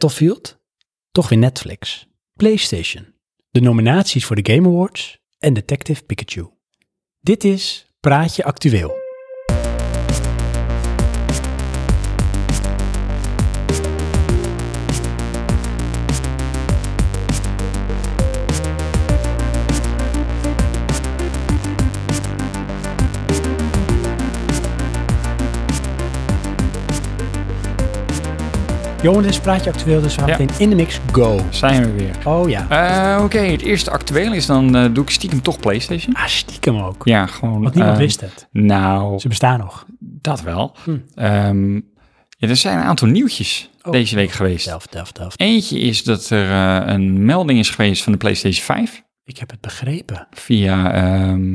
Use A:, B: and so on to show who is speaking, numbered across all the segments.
A: Battlefield, toch weer Netflix, PlayStation, de nominaties voor de Game Awards en Detective Pikachu. Dit is Praatje Actueel. Johan, dit is Praatje Actueel, dus we gaan
B: Ja.
A: meteen in de mix. Go.
B: Zijn we weer.
A: Oh ja.
B: Eh, Oké, het eerste actueel is dan eh, doe ik stiekem toch PlayStation.
A: Ah, stiekem ook.
B: Ja, gewoon.
A: Want niemand
B: eh,
A: wist het.
B: Nou,
A: Ze bestaan nog.
B: dat wel.
A: Hm.
B: Ehm, ja, er zijn een aantal nieuwtjes
A: Oh.
B: deze week geweest.
A: Delft, Delft, Delft.
B: Eentje is dat er eh, een melding is geweest van de PlayStation 5
A: Ik heb het begrepen.
B: via, ehm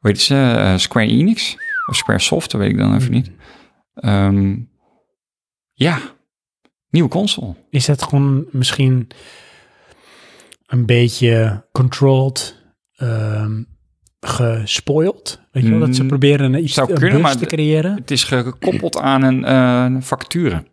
B: hoe heet ze, eh, Square Enix of Square Soft, dat weet ik dan
A: Hm.
B: even niet. Ehm, ja, nieuwe console.
A: Is dat gewoon misschien een beetje controlled, ehm, gespoild? Weet je wel, dat ze
B: Mm,
A: proberen een, iets
B: zou
A: een
B: kunnen,
A: bus
B: maar
A: te
B: de-
A: creëren?
B: Het is gekoppeld aan een eh facturen.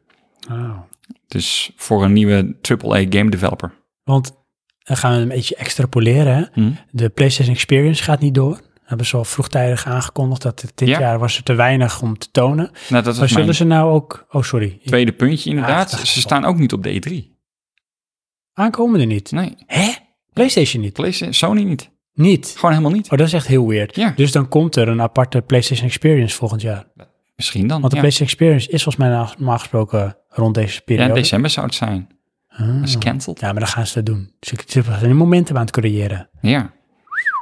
A: Oh.
B: Dus voor een nieuwe AAA game developer.
A: Want dan gaan we een beetje extrapoleren. Hè?
B: Hm?
A: De PlayStation Experience gaat niet door. Hebben ze al vroegtijdig aangekondigd dat het dit
B: Ja.
A: jaar was er te weinig om te tonen.
B: Nou, dat
A: Maar
B: was
A: zullen
B: mijn
A: ze nou ook... Oh, sorry.
B: tweede puntje inderdaad.
A: Ja, dat is
B: ze
A: wel.
B: staan ook niet op de E3.
A: Aankomen er niet.
B: Nee,
A: Hè? PlayStation niet?
B: PlayStation, Sony niet.
A: Niet.
B: Gewoon helemaal niet.
A: Oh, dat is echt heel weird.
B: Ja.
A: Dus dan komt er een aparte PlayStation Experience volgend jaar.
B: Misschien dan.
A: Want de
B: ja.
A: PlayStation Experience is volgens mij na- normaal gesproken rond deze
B: ja,
A: periode.
B: in december zou het zijn.
A: Ah.
B: Dat is cancelled.
A: Ja, maar dan gaan ze dat doen. Ze ze zijn een momentum aan het creëren.
B: Ja.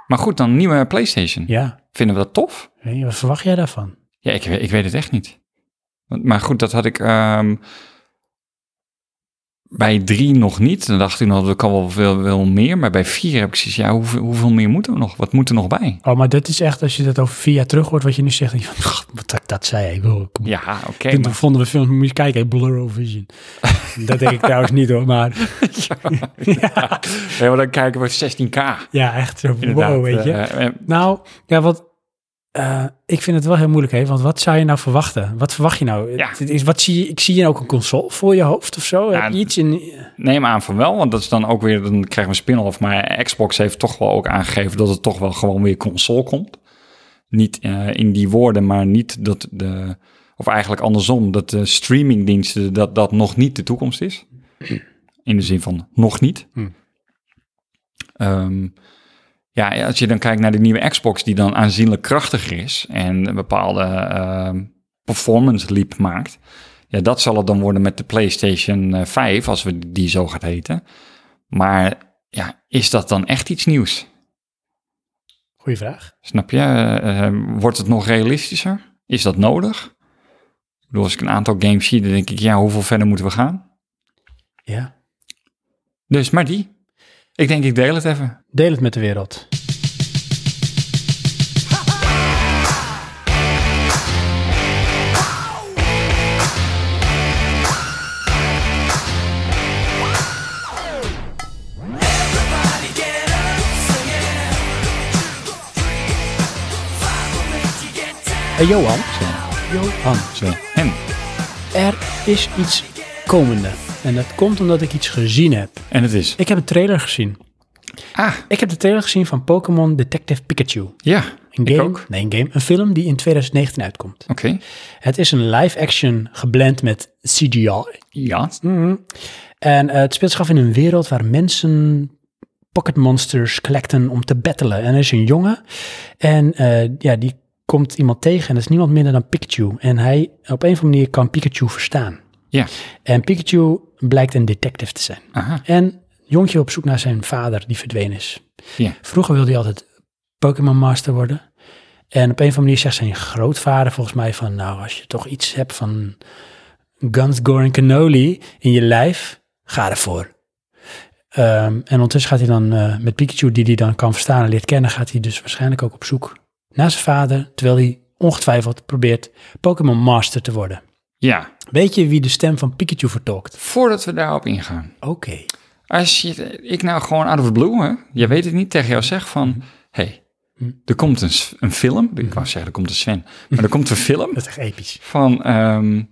B: Maar goed, dan nieuwe PlayStation.
A: Ja.
B: Vinden we dat tof?
A: Weet je, Wat verwacht jij daarvan?
B: Ja, ik, ik weet het echt niet. Want- Maar goed, dat had ik ehm, bij drie nog niet. Dan dacht ik nog, er kan wel veel, wel meer. Maar bij vier heb ik zoiets, ja, hoeveel, hoeveel meer moeten we nog? Wat moet er nog bij?
A: Oh, maar dit is echt, als je dat over vier jaar terug hoort, wat je nu zegt, dan denk je van, "Goh, wat ik dat zei. Ik wil, kom.
B: Ja, oké.
A: Toen
B: maar-
A: vonden we films, moet je kijken, Blur Vision. dat denk ik trouwens niet hoor, maar
B: ja. ja, maar dan kijken we 16k.
A: ja, echt zo,
B: Inderdaad.
A: wow, weet je.
B: Eh, eh,
A: Nou, ja, wat, eh, ik vind het wel heel moeilijk, hè, want wat zou je nou verwachten? Wat verwacht je nou?
B: Ja.
A: Het is, wat zie je, ik zie je ook een console voor je hoofd of zo?
B: Ja,
A: Heb je iets in, eh,
B: neem aan van wel, want dat is dan ook weer, dan krijgen we een spin-off. Maar Xbox heeft toch wel ook aangegeven dat het toch wel gewoon weer console komt. Niet eh, in die woorden, maar niet dat de, of eigenlijk andersom, dat de streamingdiensten, dat dat nog niet de toekomst is. In de zin van nog niet.
A: Hmm.
B: Ehm, ja, als je dan kijkt naar de nieuwe Xbox, die dan aanzienlijk krachtiger is en een bepaalde ehm, performance leap maakt. Ja, dat zal het dan worden met de PlayStation eh, 5, als we die zo gaat heten. Maar ja, is dat dan echt iets nieuws?
A: goeie vraag.
B: Snap je? Eh, eh, wordt het nog realistischer? Is dat nodig? Ik bedoel, als ik een aantal games zie, dan denk ik, ja, hoeveel verder moeten we gaan?
A: Ja.
B: Dus, maar die. Ik denk, ik deel het even.
A: Deel het met de wereld. Hey Johan,
B: Zo,
A: Johan,
B: zo. En,
A: er is iets komende. En dat komt omdat ik iets gezien heb.
B: en het is.
A: Ik heb een trailer gezien.
B: Ah,
A: Ik heb de trailer gezien van Pokémon Detective Pikachu.
B: ja.
A: Een
B: Ik
A: game,
B: ook.
A: Nee, een game. Een film die in 2019 uitkomt.
B: Oké.
A: Het is een live action geblend met CGI.
B: Ja.
A: En eh, het speelt zich af in een wereld waar mensen pocket monsters collecten om te battelen. En er is een jongen en eh, ja, die komt iemand tegen en dat is niemand minder dan Pikachu. En hij op een of andere manier kan Pikachu verstaan.
B: Ja.
A: En Pikachu blijkt een detective te zijn.
B: Aha.
A: En jongetje op zoek naar zijn vader die verdwenen is.
B: Ja.
A: Vroeger wilde hij altijd Pokémon Master worden. En op een of andere manier zegt zijn grootvader volgens mij van... nou, als je toch iets hebt van Guns, Gore en Cannoli in je lijf, ga ervoor. Ehm, en ondertussen gaat hij dan eh, met Pikachu, die hij dan kan verstaan en leert kennen... gaat hij dus waarschijnlijk ook op zoek naar zijn vader... terwijl hij ongetwijfeld probeert Pokémon Master te worden.
B: Ja.
A: Weet je wie de stem van Pikachu vertolkt?
B: Voordat we daarop ingaan.
A: Oké.
B: Als je, ik nou gewoon out of the blue, hè, je weet het niet, tegen jou zeg van... hey, er komt een, s- een film. Ik wou zeggen, er komt een Sven. Maar er komt een film
A: Dat is echt episch.
B: van ehm,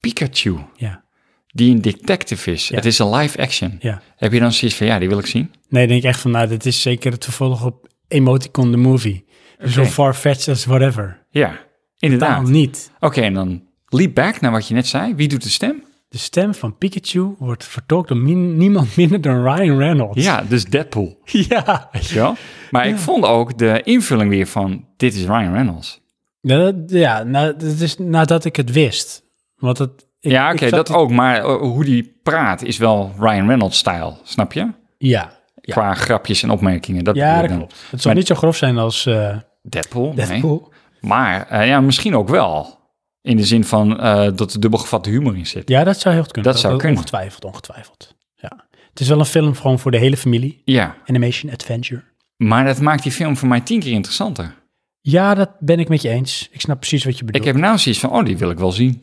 B: Pikachu.
A: Ja.
B: die een detective is. Het is een live action.
A: Ja.
B: Heb je dan zoiets van, ja, die wil ik zien?
A: Nee, denk ik echt van, nou, dit is zeker het vervolg op Emoticon the Movie. Zo far-fetched as whatever.
B: Ja,
A: Taal
B: inderdaad.
A: niet.
B: Nou, Oké, en dan leap back naar wat je net zei. Wie doet de stem?
A: De stem van Pikachu wordt vertolkt door min- niemand minder dan Ryan Reynolds.
B: Ja, dus Deadpool.
A: ja.
B: Weet je wel? Maar ik vond ook de invulling weer van, dit is Ryan Reynolds.
A: Ja, dat, ja nou, dat is nadat ik het wist. Want het, ik-
B: ja,
A: ik
B: oké,
A: zat
B: dat
A: het-
B: ook. Maar eh, hoe die praat is wel Ryan Reynolds-stijl, snap je?
A: Ja, ja.
B: Qua grapjes en opmerkingen. Dat
A: ja
B: bedoel ik
A: dat
B: dan.
A: klopt. Het zal
B: Maar-
A: niet zo grof zijn als eh
B: Deadpool? Nee.
A: Deadpool.
B: Maar eh, ja, misschien ook wel. In de zin van eh, dat er dubbelgevatte humor in zit.
A: Ja, dat zou heel goed kunnen.
B: Dat zou kunnen.
A: Ongetwijfeld, ongetwijfeld. Ja. Het is wel een film gewoon voor de hele familie.
B: Ja,
A: Animation Adventure.
B: maar dat maakt die film voor mij tien keer interessanter.
A: Ja, dat ben ik met je eens. Ik snap precies wat je
B: Ik
A: bedoelt.
B: heb nou zoiets van, oh, die wil ik wel zien.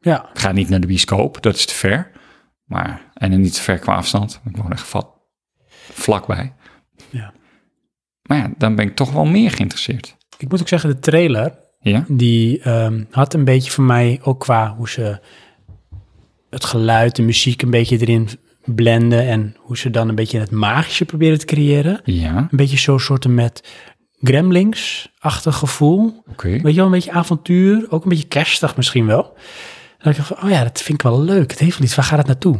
A: Ja,
B: Ik ga niet naar de bioscoop, dat is te ver. Maar, en dan niet te ver qua afstand. Ik woon echt vat, vlakbij.
A: Ja.
B: Maar ja, dan ben ik toch wel meer geïnteresseerd.
A: ik moet ook zeggen, de trailer
B: Ja?
A: die ehm, had een beetje voor mij ook qua hoe ze het geluid, de muziek een beetje erin blenden en hoe ze dan een beetje het magische proberen te creëren.
B: Ja,
A: Een beetje zo'n soorten met gremlings-achtig gevoel.
B: oké.
A: Weet je wel, een beetje avontuur, ook een beetje kerstig misschien wel. En ik dacht, van, oh ja, dat vind ik wel leuk. Het heeft wel iets. Waar gaat het naartoe?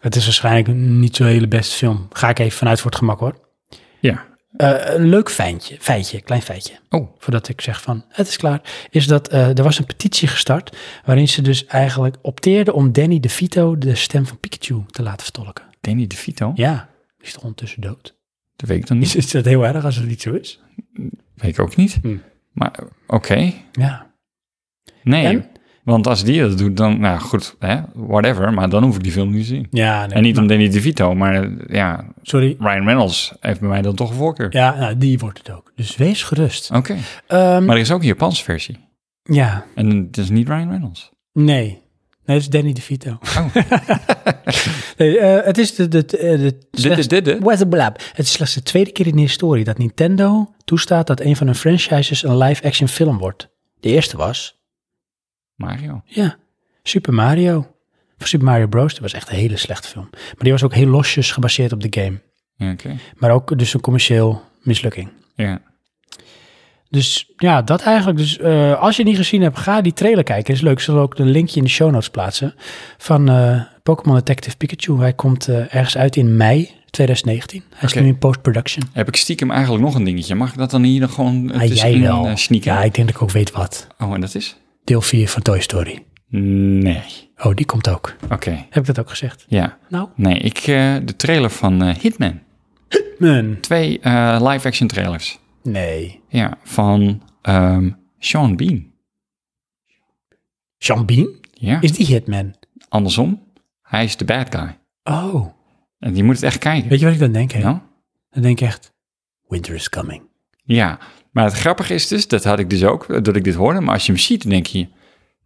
A: Het is waarschijnlijk niet zo'n hele beste film. Ga ik even vanuit voor het gemak hoor.
B: Ja.
A: Eh, een leuk feintje, feitje, klein feitje.
B: Oh.
A: Voordat ik zeg van het is klaar. Is dat eh, er was een petitie gestart. waarin ze dus eigenlijk opteerden om Danny DeVito de stem van Pikachu te laten vertolken.
B: Danny DeVito?
A: Ja, die is toch ondertussen dood.
B: Dat weet ik dan
A: Is,
B: niet.
A: is dat heel erg als het niet zo is?
B: Weet ik ook niet.
A: Hm.
B: Maar eh, oké.
A: Ja.
B: Nee,
A: En?
B: want als die dat doet, dan, nou goed, hè, whatever. Maar dan hoef ik die film niet te zien.
A: Ja, nee,
B: En niet
A: maar-
B: om Danny DeVito, maar eh, ja,
A: sorry.
B: Ryan Reynolds heeft bij mij dan toch een voorkeur.
A: Ja, nou, die wordt het ook. Dus wees gerust.
B: Oké,
A: Ehm,
B: maar er is ook een Japanse versie.
A: ja,
B: En het is niet Ryan Reynolds.
A: nee. Nee, dat is Danny DeVito.
B: Oh.
A: nee, eh, het is de... de, de, de
B: Dit is dit, hè?
A: What a blab. Het is slechts de tweede keer in de historie dat Nintendo toestaat dat een van hun franchises een live-action film wordt. De eerste was,
B: Mario.
A: ja, Super Mario. Of Super Mario Bros. Dat was echt een hele slechte film. Maar die was ook heel losjes gebaseerd op de game.
B: Ja, oké.
A: Maar ook dus een commercieel mislukking.
B: Ja.
A: Dus ja, dat eigenlijk. Dus eh, als je het niet gezien hebt, ga die trailer kijken. is leuk. Zullen we ook een linkje in de show notes plaatsen. Van eh, Pokémon Detective Pikachu. Hij komt eh, ergens uit in mei 2019. Hij is
B: Oké.
A: nu in post-production.
B: Heb ik stiekem eigenlijk nog een dingetje. Mag ik dat dan hier dan gewoon eh,
A: Ah, jij
B: tussenin,
A: wel.
B: eh, sneaken?
A: Ja, ik denk dat ik ook weet wat.
B: Oh, en dat is?
A: Deel 4 van Toy Story.
B: Nee.
A: Oh, die komt ook.
B: Oké,
A: Heb ik dat ook gezegd?
B: ja.
A: Nou.
B: Nee, ik, eh, de trailer van eh, Hitman.
A: Men.
B: Twee eh, live-action trailers.
A: Nee.
B: Ja, van ehm, Sean Bean.
A: Sean Bean?
B: Ja,
A: Is die Hitman?
B: andersom. Hij is de bad guy.
A: Oh.
B: En je moet het echt kijken.
A: Weet je wat ik dan denk? Hè?
B: Nou?
A: Dan denk ik echt, winter is coming.
B: Ja, maar het grappige is dus, dat had ik dus ook, eh, dat ik dit hoorde. Maar als je hem ziet, dan denk je,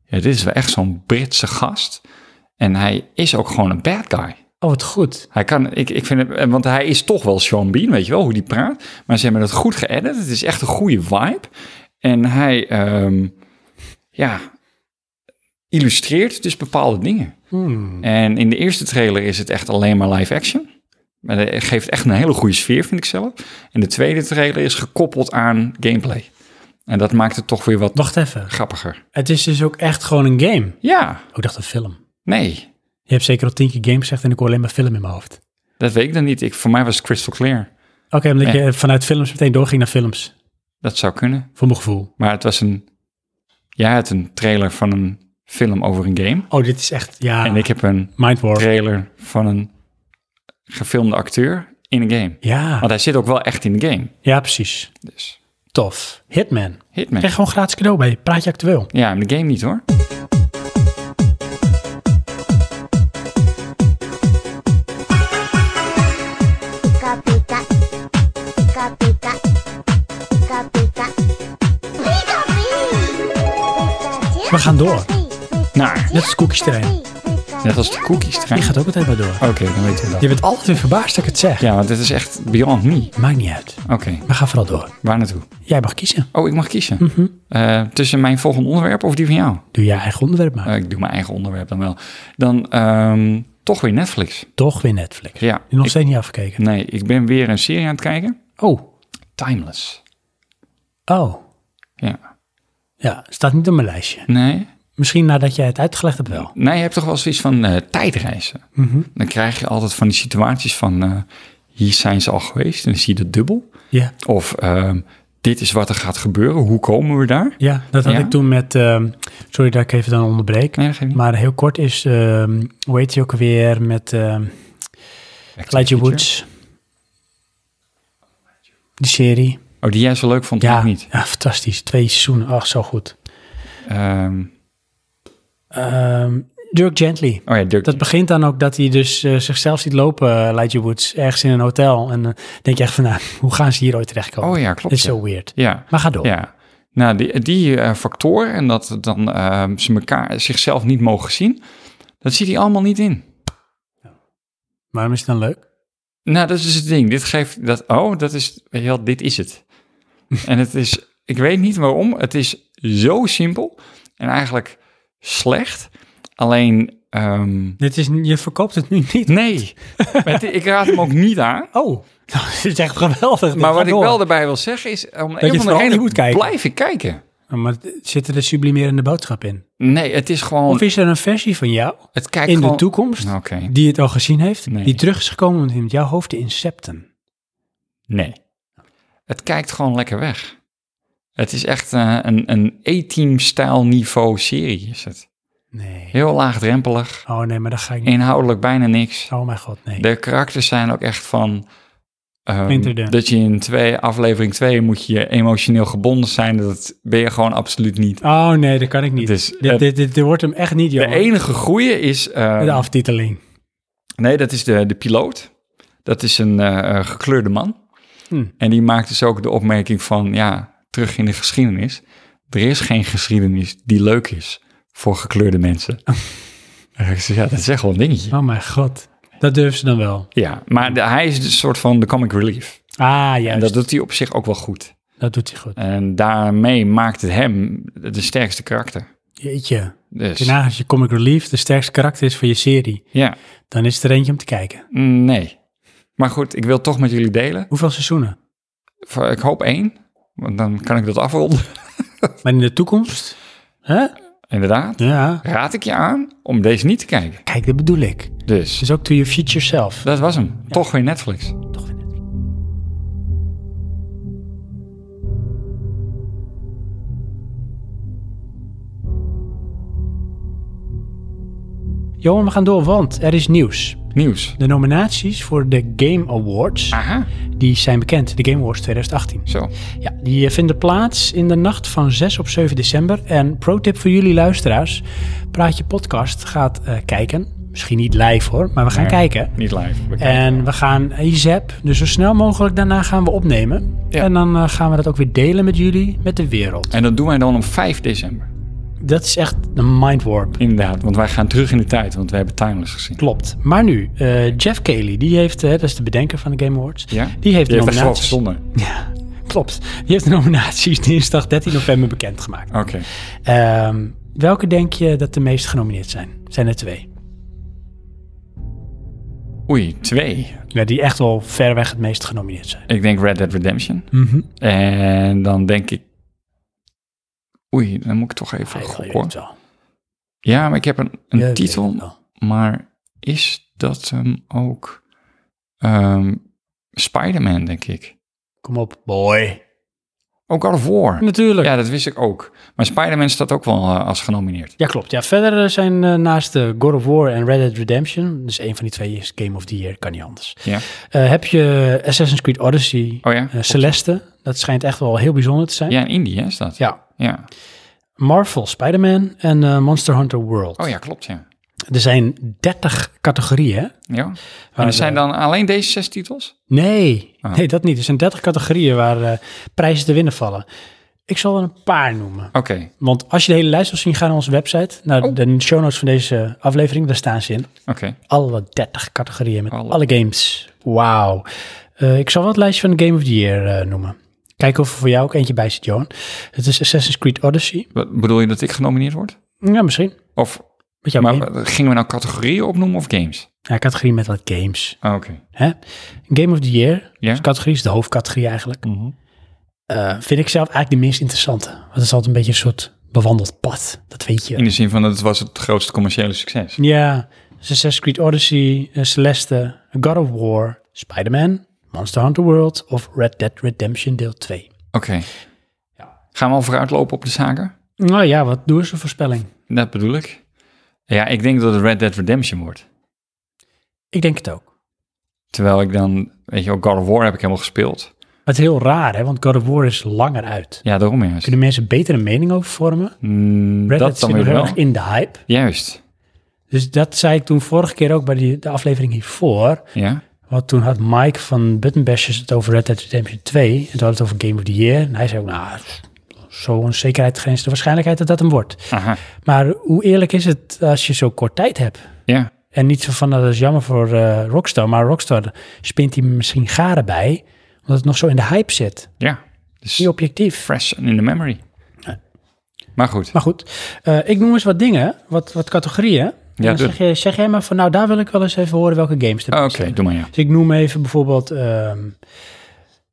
B: ja, dit is wel echt zo'n Britse gast. En hij is ook gewoon een bad guy.
A: Oh, wat goed.
B: Hij kan, ik, ik vind het, eh, want hij is toch wel Sean Bean, weet je wel, hoe die praat. Maar ze hebben het goed geëdit. Het is echt een goede vibe. En hij, ehm, ja, illustreert dus bepaalde dingen.
A: Hmm.
B: En in de eerste trailer is het echt alleen maar live action. Maar dat geeft echt een hele goede sfeer, vind ik zelf. En de tweede trailer is gekoppeld aan gameplay. En dat maakt het toch weer wat
A: Wacht even.
B: grappiger.
A: Het is dus ook echt gewoon een game.
B: Ja,
A: Oh, ik dacht een film.
B: nee,
A: Je hebt zeker al tien keer game gezegd en ik hoor alleen maar film in mijn hoofd.
B: dat weet ik dan niet. Ik, voor mij was het crystal clear.
A: Oké, omdat
B: Ja.
A: je vanuit films meteen doorging naar films.
B: Dat zou kunnen.
A: Voor mijn gevoel.
B: Maar het was een... Jij had een trailer van een film over een game.
A: Oh, dit is echt, ja,
B: En ik heb een
A: Mind War.
B: trailer van een gefilmde acteur in een game.
A: Ja.
B: Want hij zit ook wel echt in de game.
A: ja, precies.
B: Dus
A: Tof. Hitman.
B: Hitman.
A: Krijg gewoon gratis cadeau bij Praatje Actueel.
B: Ja, maar de game niet hoor.
C: Capita, capita, capita. Pika
A: We gaan door.
B: Naar
A: Net als koekjes erin.
B: Net als de cookies
A: Die
B: trouwens.
A: gaat ook altijd maar door.
B: Oké, dan weten we dat.
A: Je bent altijd weer verbaasd dat ik het zeg.
B: Ja, want dit is echt beyond me.
A: Maakt niet uit.
B: Oké,
A: Maar ga vooral door.
B: waar naartoe?
A: Jij mag kiezen.
B: Oh, ik mag kiezen.
A: Mhm.
B: Eh, tussen mijn volgende onderwerp of die van jou?
A: Doe je eigen onderwerp maar.
B: Eh, ik doe mijn eigen onderwerp dan wel. Dan ehm, toch weer Netflix.
A: Toch weer Netflix.
B: Ja.
A: Die nog
B: Ik-
A: steeds niet afgekeken.
B: nee, ik ben weer een serie aan het kijken.
A: Oh.
B: Timeless.
A: Oh.
B: Ja.
A: Ja, staat niet op mijn lijstje.
B: Nee?
A: Misschien nadat jij het uitgelegd hebt wel.
B: Nee, je hebt toch wel zoiets van eh, tijdreizen.
A: Mhm.
B: Dan krijg je altijd van die situaties van... eh, hier zijn ze al geweest en dan zie je dat dubbel.
A: Ja.
B: Of ehm, dit is wat er gaat gebeuren. Hoe komen we daar?
A: Ja, dat had
B: Ja? Mhm.
A: ik toen met... ehm, sorry dat ik even dan onderbreek.
B: Nee, dat geeft niet.
A: Maar heel kort is... ehm hoe heet hij ook weer met... ehm
B: Back to the
A: Elijah
B: Future.
A: Woods. Die serie.
B: Oh, die jij zo leuk vond, ja.
A: Ja,
B: niet.
A: ja, fantastisch. Twee seizoenen. Ach, zo goed.
B: Ehm,
A: Ehm Dirk Gently.
B: oh ja, Dirk.
A: Dat begint dan ook dat hij dus eh, zichzelf ziet lopen, eh, Elijah Woods, ergens in een hotel. En dan denk je echt van, nou, hoe gaan ze hier ooit terechtkomen?
B: oh ja, klopt.
A: Dat is
B: ja.
A: zo weird.
B: Ja.
A: Maar ga door.
B: Ja. Nou, die, die eh, factoren en dat dan ehm, ze elkaar, zichzelf niet mogen zien, dat ziet hij allemaal niet in.
A: Waarom is het dan leuk?
B: Nou, dat is het ding. Dit geeft dat, oh, dat is, weet je wel, dit is het. en het is, ik weet niet waarom, het is zo simpel en eigenlijk slecht. Alleen, ehm,
A: Dit is, je verkoopt het nu niet.
B: nee, Het- ik raad hem ook niet aan.
A: Oh, dat is echt geweldig. Dit
B: Maar
A: gaat
B: wat ik
A: door.
B: wel daarbij wil zeggen is, om
A: je
B: een
A: het
B: van de
A: vooral niet
B: redenen
A: moet kijken.
B: blijf ik kijken.
A: Oh, Maar het- zit er de sublimerende boodschap in?
B: Nee, het is
A: Of
B: gewoon,
A: is er een versie van jou
B: het kijkt
A: in de
B: gewoon...
A: toekomst
B: Oké,
A: die het al gezien heeft,
B: Nee.
A: die terug is gekomen om het in jouw hoofd te incepten?
B: Nee. Het kijkt gewoon lekker weg. Het is echt eh, een, een E-team-stijl niveau serie is het.
A: Nee.
B: Heel laagdrempelig,
A: Oh nee, maar dat ga ik niet.
B: inhoudelijk bijna niks.
A: Oh mijn god, nee.
B: De karakters zijn ook echt van... ehm,
A: Interdun.
B: dat je in twee, aflevering 2 moet je emotioneel gebonden zijn. Dat ben je gewoon absoluut niet.
A: Oh nee, dat kan ik niet.
B: Dus,
A: dit,
B: eh,
A: dit, dit, dit wordt hem echt niet,
B: De
A: joh.
B: enige goeie is... ehm,
A: De aftiteling.
B: Nee, dat is de, de piloot. Dat is een eh, eh, gekleurde man.
A: Hm.
B: En die maakt dus ook de opmerking van, ja, terug in de geschiedenis. Er is geen geschiedenis die leuk is voor gekleurde mensen. En ik zeg, ja, dat is echt wel een dingetje.
A: Oh mijn god. Dat durven ze dan wel.
B: Ja, maar de- hij is dus een soort van de comic relief.
A: Ah,
B: En
A: juist. Dat,
B: dat doet hij op zich ook wel goed.
A: doet hij goed.
B: En daarmee maakt het hem de sterkste karakter.
A: Jeetje.
B: Dus,
A: Daarna als je comic relief de sterkste karakter is van je serie,
B: ja,
A: dan is het er eentje om te kijken.
B: nee. Maar goed, ik wil toch met jullie delen.
A: Hoeveel seizoenen?
B: Voor- Ik hoop één, want dan kan ik dat afronden.
A: Maar in de toekomst? Hè?
B: Inderdaad.
A: Ja.
B: Raad ik je aan om deze niet te kijken.
A: Kijk, dat bedoel ik.
B: Dus
A: Dus ook to your future self.
B: Dat was hem. Toch weer Netflix.
A: Toch weer net. Johan, we gaan door, want er is nieuws.
B: Nieuws.
A: De nominaties voor de Game Awards,
B: Aha.
A: die zijn bekend. De Game Awards 2018.
B: Zo.
A: Ja, die eh, vinden plaats in de nacht van 6 op 7 december. En pro tip voor jullie luisteraars. Praatje Podcast gaat eh, kijken. Misschien niet live hoor, maar we gaan
B: Nee.
A: kijken.
B: Niet live. We kijken.
A: En we gaan IZEP, dus zo snel mogelijk daarna gaan we opnemen.
B: Ja.
A: En dan eh, gaan we dat ook weer delen met jullie, met de wereld.
B: En dat doen wij dan op 5 december.
A: Dat is echt een mindwarp.
B: Inderdaad, want wij gaan terug in de tijd, want we hebben Timeless gezien.
A: Klopt. Maar nu, eh, Jeff Cayley, die heeft, eh, dat is de bedenker van de Game Awards,
B: Ja?
A: die heeft de
B: Je hebt echt wel
A: nominaties.
B: verzonnen.
A: Ja, klopt. Die heeft de nominaties dinsdag 13 november bekendgemaakt.
B: Oké.
A: Ehm, welke denk je dat de meest genomineerd zijn? Zijn er twee.
B: Oei, twee.
A: Ja, die echt wel ver weg het meest genomineerd zijn.
B: Ik denk Red Dead Redemption.
A: Mhm.
B: En dan denk ik... Oei, dan moet ik toch even
A: Ja, je weet
B: gokken.
A: het wel.
B: Ja, maar ik heb een, een
A: Je weet
B: titel,
A: het wel.
B: maar is dat hem ook... ehm Spider-Man, denk ik.
A: Kom op, boy.
B: Ook God of War.
A: Natuurlijk.
B: Ja, dat wist ik ook. Maar Spider-Man staat ook wel eh, als genomineerd.
A: Ja, klopt. Ja, verder eh, zijn eh, naast de God of War en Red Dead Redemption, dus één van die twee is Game of the Year, kan niet anders.
B: Ja.
A: Eh, heb je Assassin's Creed Odyssey,
B: Oh ja?
A: eh, Celeste, dat schijnt echt wel heel bijzonder te zijn.
B: Ja, in Indië is dat.
A: Ja.
B: ja.
A: Marvel, Spider-Man en eh, Monster Hunter World.
B: Oh ja, klopt, ja.
A: Er zijn 30 categorieën. hè?
B: ja. En
A: Waar,
B: er zijn
A: eh,
B: dan alleen deze zes titels?
A: Nee,
B: Ah.
A: nee, dat niet. Er zijn 30 categorieën waar eh, prijzen te winnen vallen. Ik zal er een paar noemen.
B: Oké,
A: Want als je de hele lijst wil zien, ga naar onze website. Naar
B: Oh.
A: de show notes van deze aflevering. Daar staan ze in.
B: oké.
A: Alle 30 categorieën met alle,
B: Alle.
A: games. Wauw. Eh, ik zal wel het lijstje van de Game of the Year eh, noemen. Kijken of er voor jou ook eentje bij zit, Johan. Het is Assassin's Creed Odyssey.
B: Wat- Bedoel je dat ik genomineerd word?
A: Ja, misschien.
B: Of
A: Met jouw game.
B: maar, gingen we nou categorieën opnoemen of games?
A: Ja, categorie met wat games.
B: Ah, Oké.
A: Hè? Game of the Year.
B: Ja. Mhm.
A: Dus categorie is de hoofdcategorie eigenlijk. Eh, vind ik zelf eigenlijk de minst interessante. Want het is altijd een beetje een soort bewandeld pad. Dat weet je.
B: In de zin van dat het was het grootste commerciële succes.
A: Ja, dus Assassin's Creed Odyssey, eh, Celeste, God of War, Spider-Man, Monster Hunter World of Red Dead Redemption deel 2.
B: Oké. Gaan we al vooruitlopen op de zaken?
A: Nou ja, wat doen ze voorspelling?
B: Dat bedoel ik. Ja, ik denk dat het Red Dead Redemption wordt.
A: Ik denk het ook.
B: Terwijl ik dan, weet je, ook God of War heb ik helemaal gespeeld.
A: Maar het is heel raar, hè, want God of War is langer uit.
B: Ja, daarom juist.
A: Kunnen mensen beter een mening over vormen?
B: Mm,
A: Red
B: dat
A: Dead zit
B: dan
A: nog
B: weer
A: heel
B: wel.
A: erg in de hype.
B: Juist.
A: Dus dat zei ik toen vorige keer ook bij die, de aflevering hiervoor.
B: Ja.
A: Want toen had Mike van Button Bashers het over Red Dead Redemption 2. En toen hadden we het over Game of the Year. En hij zei ook, nou, zo'n zekerheid grenst de waarschijnlijkheid dat dat hem wordt.
B: Aha.
A: Maar hoe eerlijk is het als je zo kort tijd hebt?
B: Ja.
A: En niet zo van, nou, dat is jammer voor eh, Rockstar. Maar Rockstar spint hij misschien garen bij. Omdat het nog zo in de hype zit.
B: Ja. Dus
A: Niet objectief.
B: fresh and in the memory. Maar goed.
A: Maar goed, eh, ik noem eens wat dingen, wat, wat categorieën.
B: Ja,
A: en dan
B: doe. Ah,
A: zeg, je, zeg jij maar van, nou, daar wil ik wel eens even horen welke games er
B: Oké,
A: bij zijn.
B: doe maar ja.
A: Dus ik noem even bijvoorbeeld ehm,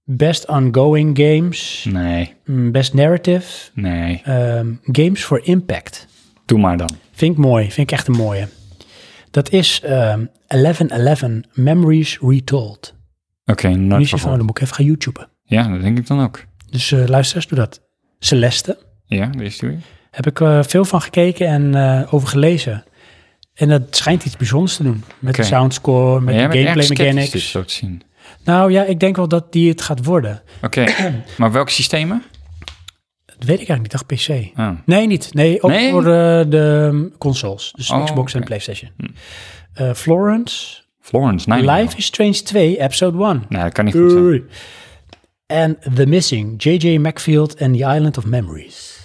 A: Best Ongoing Games,
B: Nee,
A: mm, Best Narrative,
B: nee.
A: ehm, Games for Impact.
B: Doe maar dan.
A: Vind ik mooi, vind ik echt een mooie. Dat is ehm 1111 Memories Retold.
B: Oké,
A: Nu
B: nooit
A: is je van, oh,
B: vervolgd.
A: dan moet ik even gaan YouTuben.
B: Ja, dat denk ik dan ook.
A: Dus eh luisteraars, doe dat. Celeste,
B: Ja, daar is die weer.
A: heb ik eh, veel van gekeken en eh, over gelezen. En dat schijnt iets bijzonders te doen. Met de
B: Oké.
A: soundscore, met
B: Maar jij
A: de
B: bent
A: gameplay
B: erg sceptisch dus.
A: mechanics.
B: dit zo te zien.
A: Nou ja, ik denk wel dat die het gaat worden.
B: Oké, maar welke systemen?
A: Dat weet ik eigenlijk niet, dacht PC.
B: Oh,
A: Nee, niet. Nee, ook
B: Nee?
A: voor eh, de um, consoles. Dus
B: Oh,
A: Xbox en
B: oké.
A: PlayStation. Eh, Florence,
B: Florence, nee.
A: Life is Strange 2, episode 1.
B: Nee, dat kan niet goed zijn.
A: Oei. En The Missing, J.J. Macfield en The Island of Memories.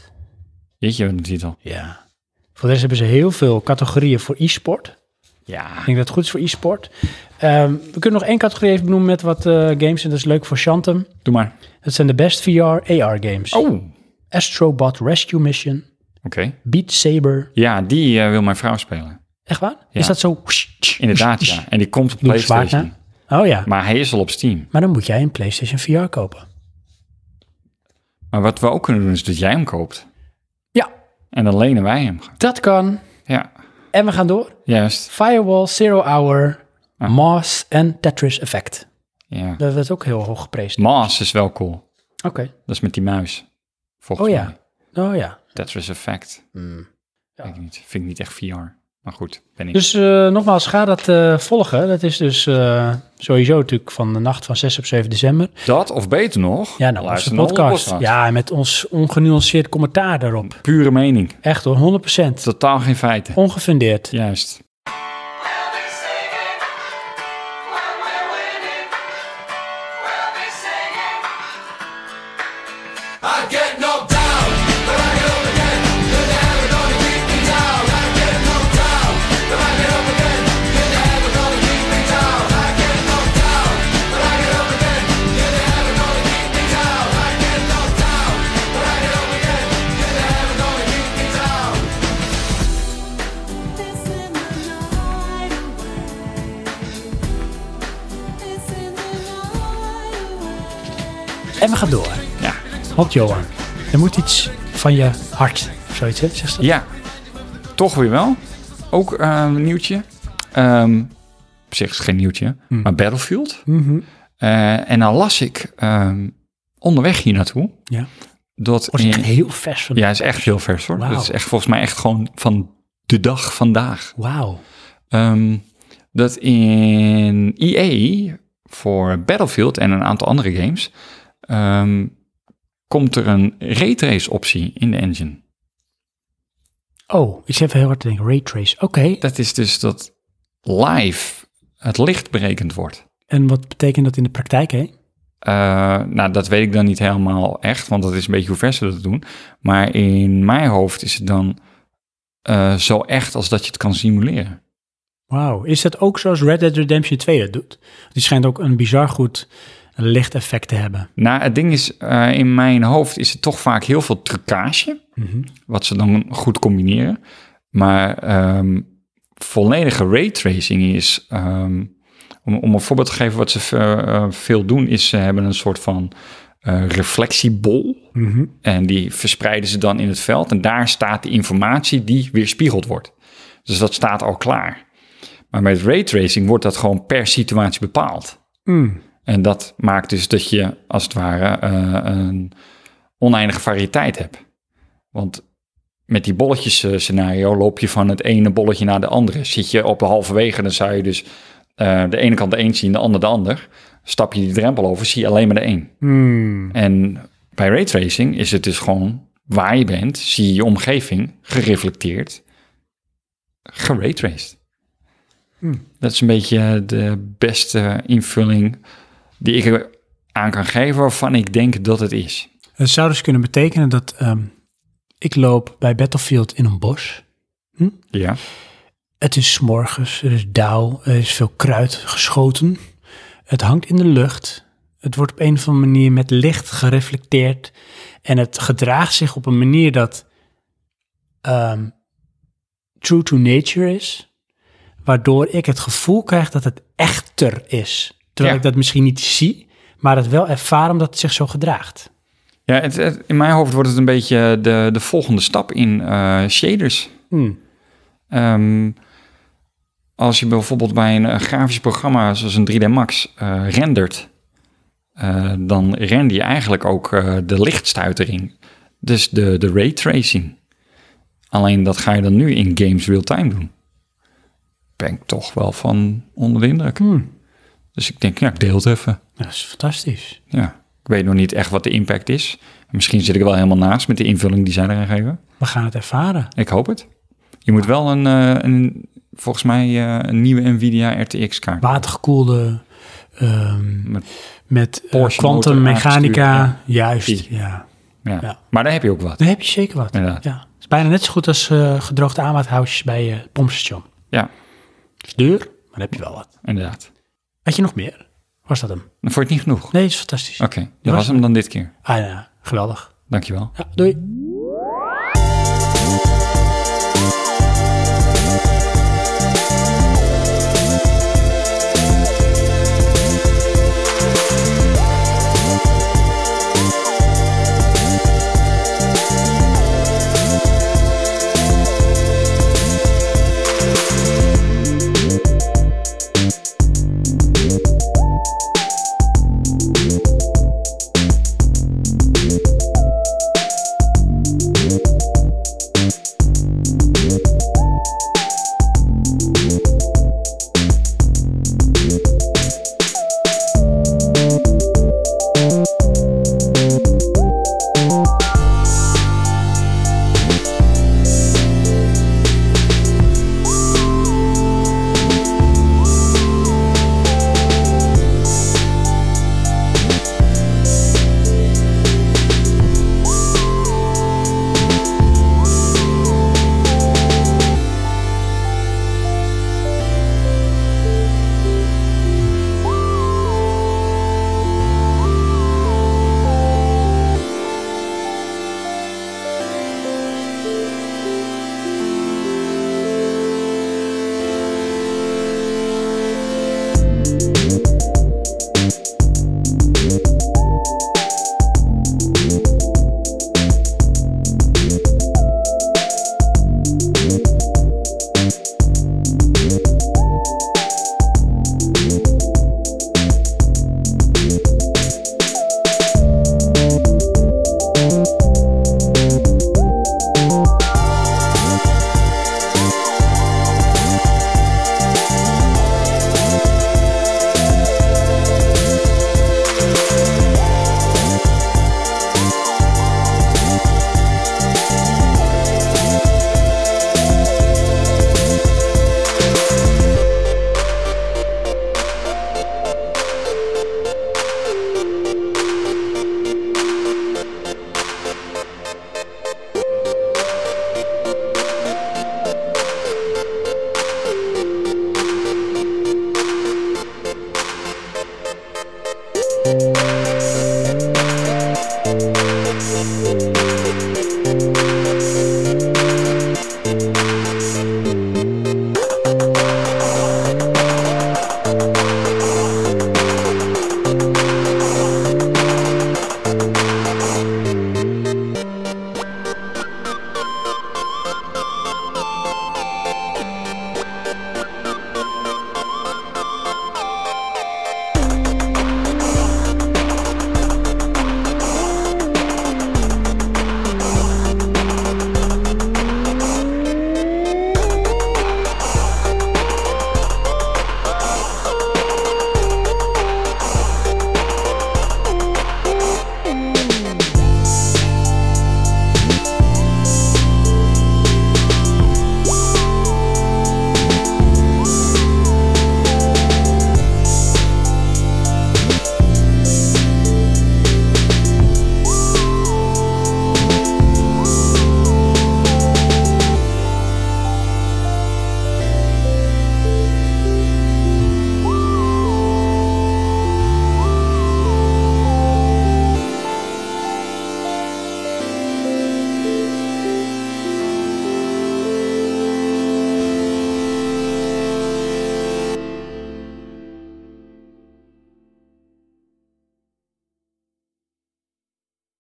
B: Jeetje, wat een titel.
A: Ja. Voor de rest hebben ze heel veel categorieën voor e-sport.
B: Ja.
A: Ik denk dat het goed is voor e-sport. Ehm, we kunnen nog één categorie even benoemen met wat eh, games. En dat is leuk voor Shantum.
B: Doe maar.
A: Dat zijn de best VR-AR games.
B: Oh. Oké.
A: Astrobot Rescue Mission, Beat Saber.
B: Ja, die eh, wil mijn vrouw spelen.
A: Echt waar?
B: Ja.
A: Is dat zo?
B: Inderdaad, ja. En die komt op
A: Doe het zwaard
B: PlayStation.
A: Oh ja.
B: Maar hij is al op Steam.
A: Maar dan moet jij een PlayStation VR kopen.
B: Maar wat we ook kunnen doen, is dat jij hem koopt.
A: Ja,
B: En dan lenen wij hem.
A: dat kan.
B: Ja,
A: En we gaan door.
B: juist.
A: Firewall, Zero Hour, Moss en Tetris Effect.
B: Ja.
A: Dat werd ook heel hoog geprezen.
B: Maas is wel cool.
A: Oké.
B: Dat is met die muis.
A: Oh
B: Volgens mij.
A: ja. Oh ja.
B: Tetris Effect.
A: Ja.
B: Weet ik niet. Vind ik niet echt VR. Maar goed, ben ik.
A: Dus eh, nogmaals, ga dat eh, volgen. Dat is dus eh, sowieso natuurlijk van de nacht van 6 op 7 december.
B: dat of beter nog,
A: Ja, nou,
B: luister
A: onze
B: naar onze
A: podcast.
B: podcast.
A: Ja, en met ons ongenuanceerd commentaar daarop.
B: Pure mening.
A: Echt hoor, 100%.
B: Totaal geen feiten.
A: Ongefundeerd.
B: Juist.
A: En we gaan door.
B: Ja.
A: Want Johan, er moet iets van je hart. Of zoiets, hè? Zegt ze dat?
B: Ja, toch weer wel. Ook eh, een nieuwtje. Ehm, op zich is het geen nieuwtje, maar Battlefield.
A: Hmm. Mhm.
B: Eh, en dan las ik ehm, onderweg hier naartoe
A: Ja.
B: dat.
A: Wordt Oh, echt
B: in-
A: heel vers van.
B: ja, is echt heel vers hoor.
A: Wauw.
B: Dat is echt volgens mij echt gewoon van de dag vandaag.
A: Wauw.
B: Ehm, dat in EA voor Battlefield en een aantal andere games ehm, komt er een raytrace optie in de engine.
A: Oh, ik zit even heel hard te denken. Raytrace. Oké.
B: Dat is dus dat live het licht berekend wordt.
A: En wat betekent dat in de praktijk, hè?
B: Eh, nou, dat weet ik dan niet helemaal echt, want dat is een beetje hoe ver ze dat doen. Maar in mijn hoofd is het dan eh, zo echt als dat je het kan simuleren.
A: Wauw. Is dat ook zoals Red Dead Redemption 2 dat doet? Die schijnt ook een bizar goed lichteffect te hebben.
B: Nou, het ding is, eh, in mijn hoofd is het toch vaak heel veel trucage,
A: Mhm.
B: wat ze dan goed combineren. Maar ehm, volledige raytracing is, ehm, om, om een voorbeeld te geven wat ze eh, eh, veel doen, is ze hebben een soort van eh, reflectiebol.
A: Mhm.
B: En die verspreiden ze dan in het veld. En daar staat de informatie die weerspiegeld wordt. Dus dat staat al klaar. Maar met raytracing wordt dat gewoon per situatie bepaald.
A: Mm.
B: En dat maakt dus dat je als het ware eh, een oneindige variëteit hebt. Want met die bolletjes eh, scenario loop je van het ene bolletje naar de andere. Zit je op de halverwege, dan zou je dus eh, de ene kant de een zien, de ander de ander. Stap je die drempel over, zie je alleen maar de een.
A: Mm.
B: En bij raytracing is het dus gewoon waar je bent, zie je je omgeving gereflecteerd, geraytraced. Dat is een beetje de beste invulling die ik er aan kan geven waarvan ik denk dat het is.
A: Het zou dus kunnen betekenen dat ehm, ik loop bij Battlefield in een bos.
B: Ja.
A: Het is 's morgens, er is dauw, er is veel kruid geschoten. Het hangt in de lucht. Het wordt op een of andere manier met licht gereflecteerd. En het gedraagt zich op een manier dat ehm, true to nature is. Waardoor ik het gevoel krijg dat het echter is. Terwijl
B: Ja.
A: ik dat misschien niet zie, maar het wel ervaar omdat het zich zo gedraagt.
B: Ja, het, het- in mijn hoofd wordt het een beetje de, de volgende stap in eh, shaders.
A: Hmm.
B: Ehm, als je bijvoorbeeld bij een eh, grafisch programma zoals een 3D Max eh, rendert, eh, dan render je eigenlijk ook eh, de lichtstuitering. Dus de, de raytracing. Alleen dat ga je dan nu in games real-time doen. Ben ik toch wel van onder de indruk.
A: Hmm.
B: Dus ik denk, ja, ik deel het even.
A: Nou, Dat is fantastisch.
B: Ja, ik weet nog niet echt wat de impact is. Misschien zit ik er wel helemaal naast met de invulling die zij eraan geven.
A: We gaan het ervaren.
B: Ik hoop het. Je moet wel een, eh, een volgens mij eh, een nieuwe Nvidia RTX kaart.
A: Watergekoelde ehm,
B: Met-
A: Met eh,
B: Porsche
A: kwantummechanica.
B: motor
A: Juist,
B: Die.
A: ja.
B: ja.
A: Ja.
B: Maar daar heb je ook wat.
A: Daar heb je zeker wat.
B: Inderdaad.
A: Ja. Het is bijna net zo goed als eh, gedroogde aanmaathoutjes bij eh, het pompstation.
B: Ja,
A: Het is duur, maar dan heb je wel wat.
B: inderdaad.
A: Had je nog meer? Was dat hem?
B: Dan vond je het niet genoeg. Oké,
A: Nee, dat is fantastisch.
B: dat was hem dan dit keer.
A: Ah ja, geweldig.
B: Dankjewel.
A: Ja, doei.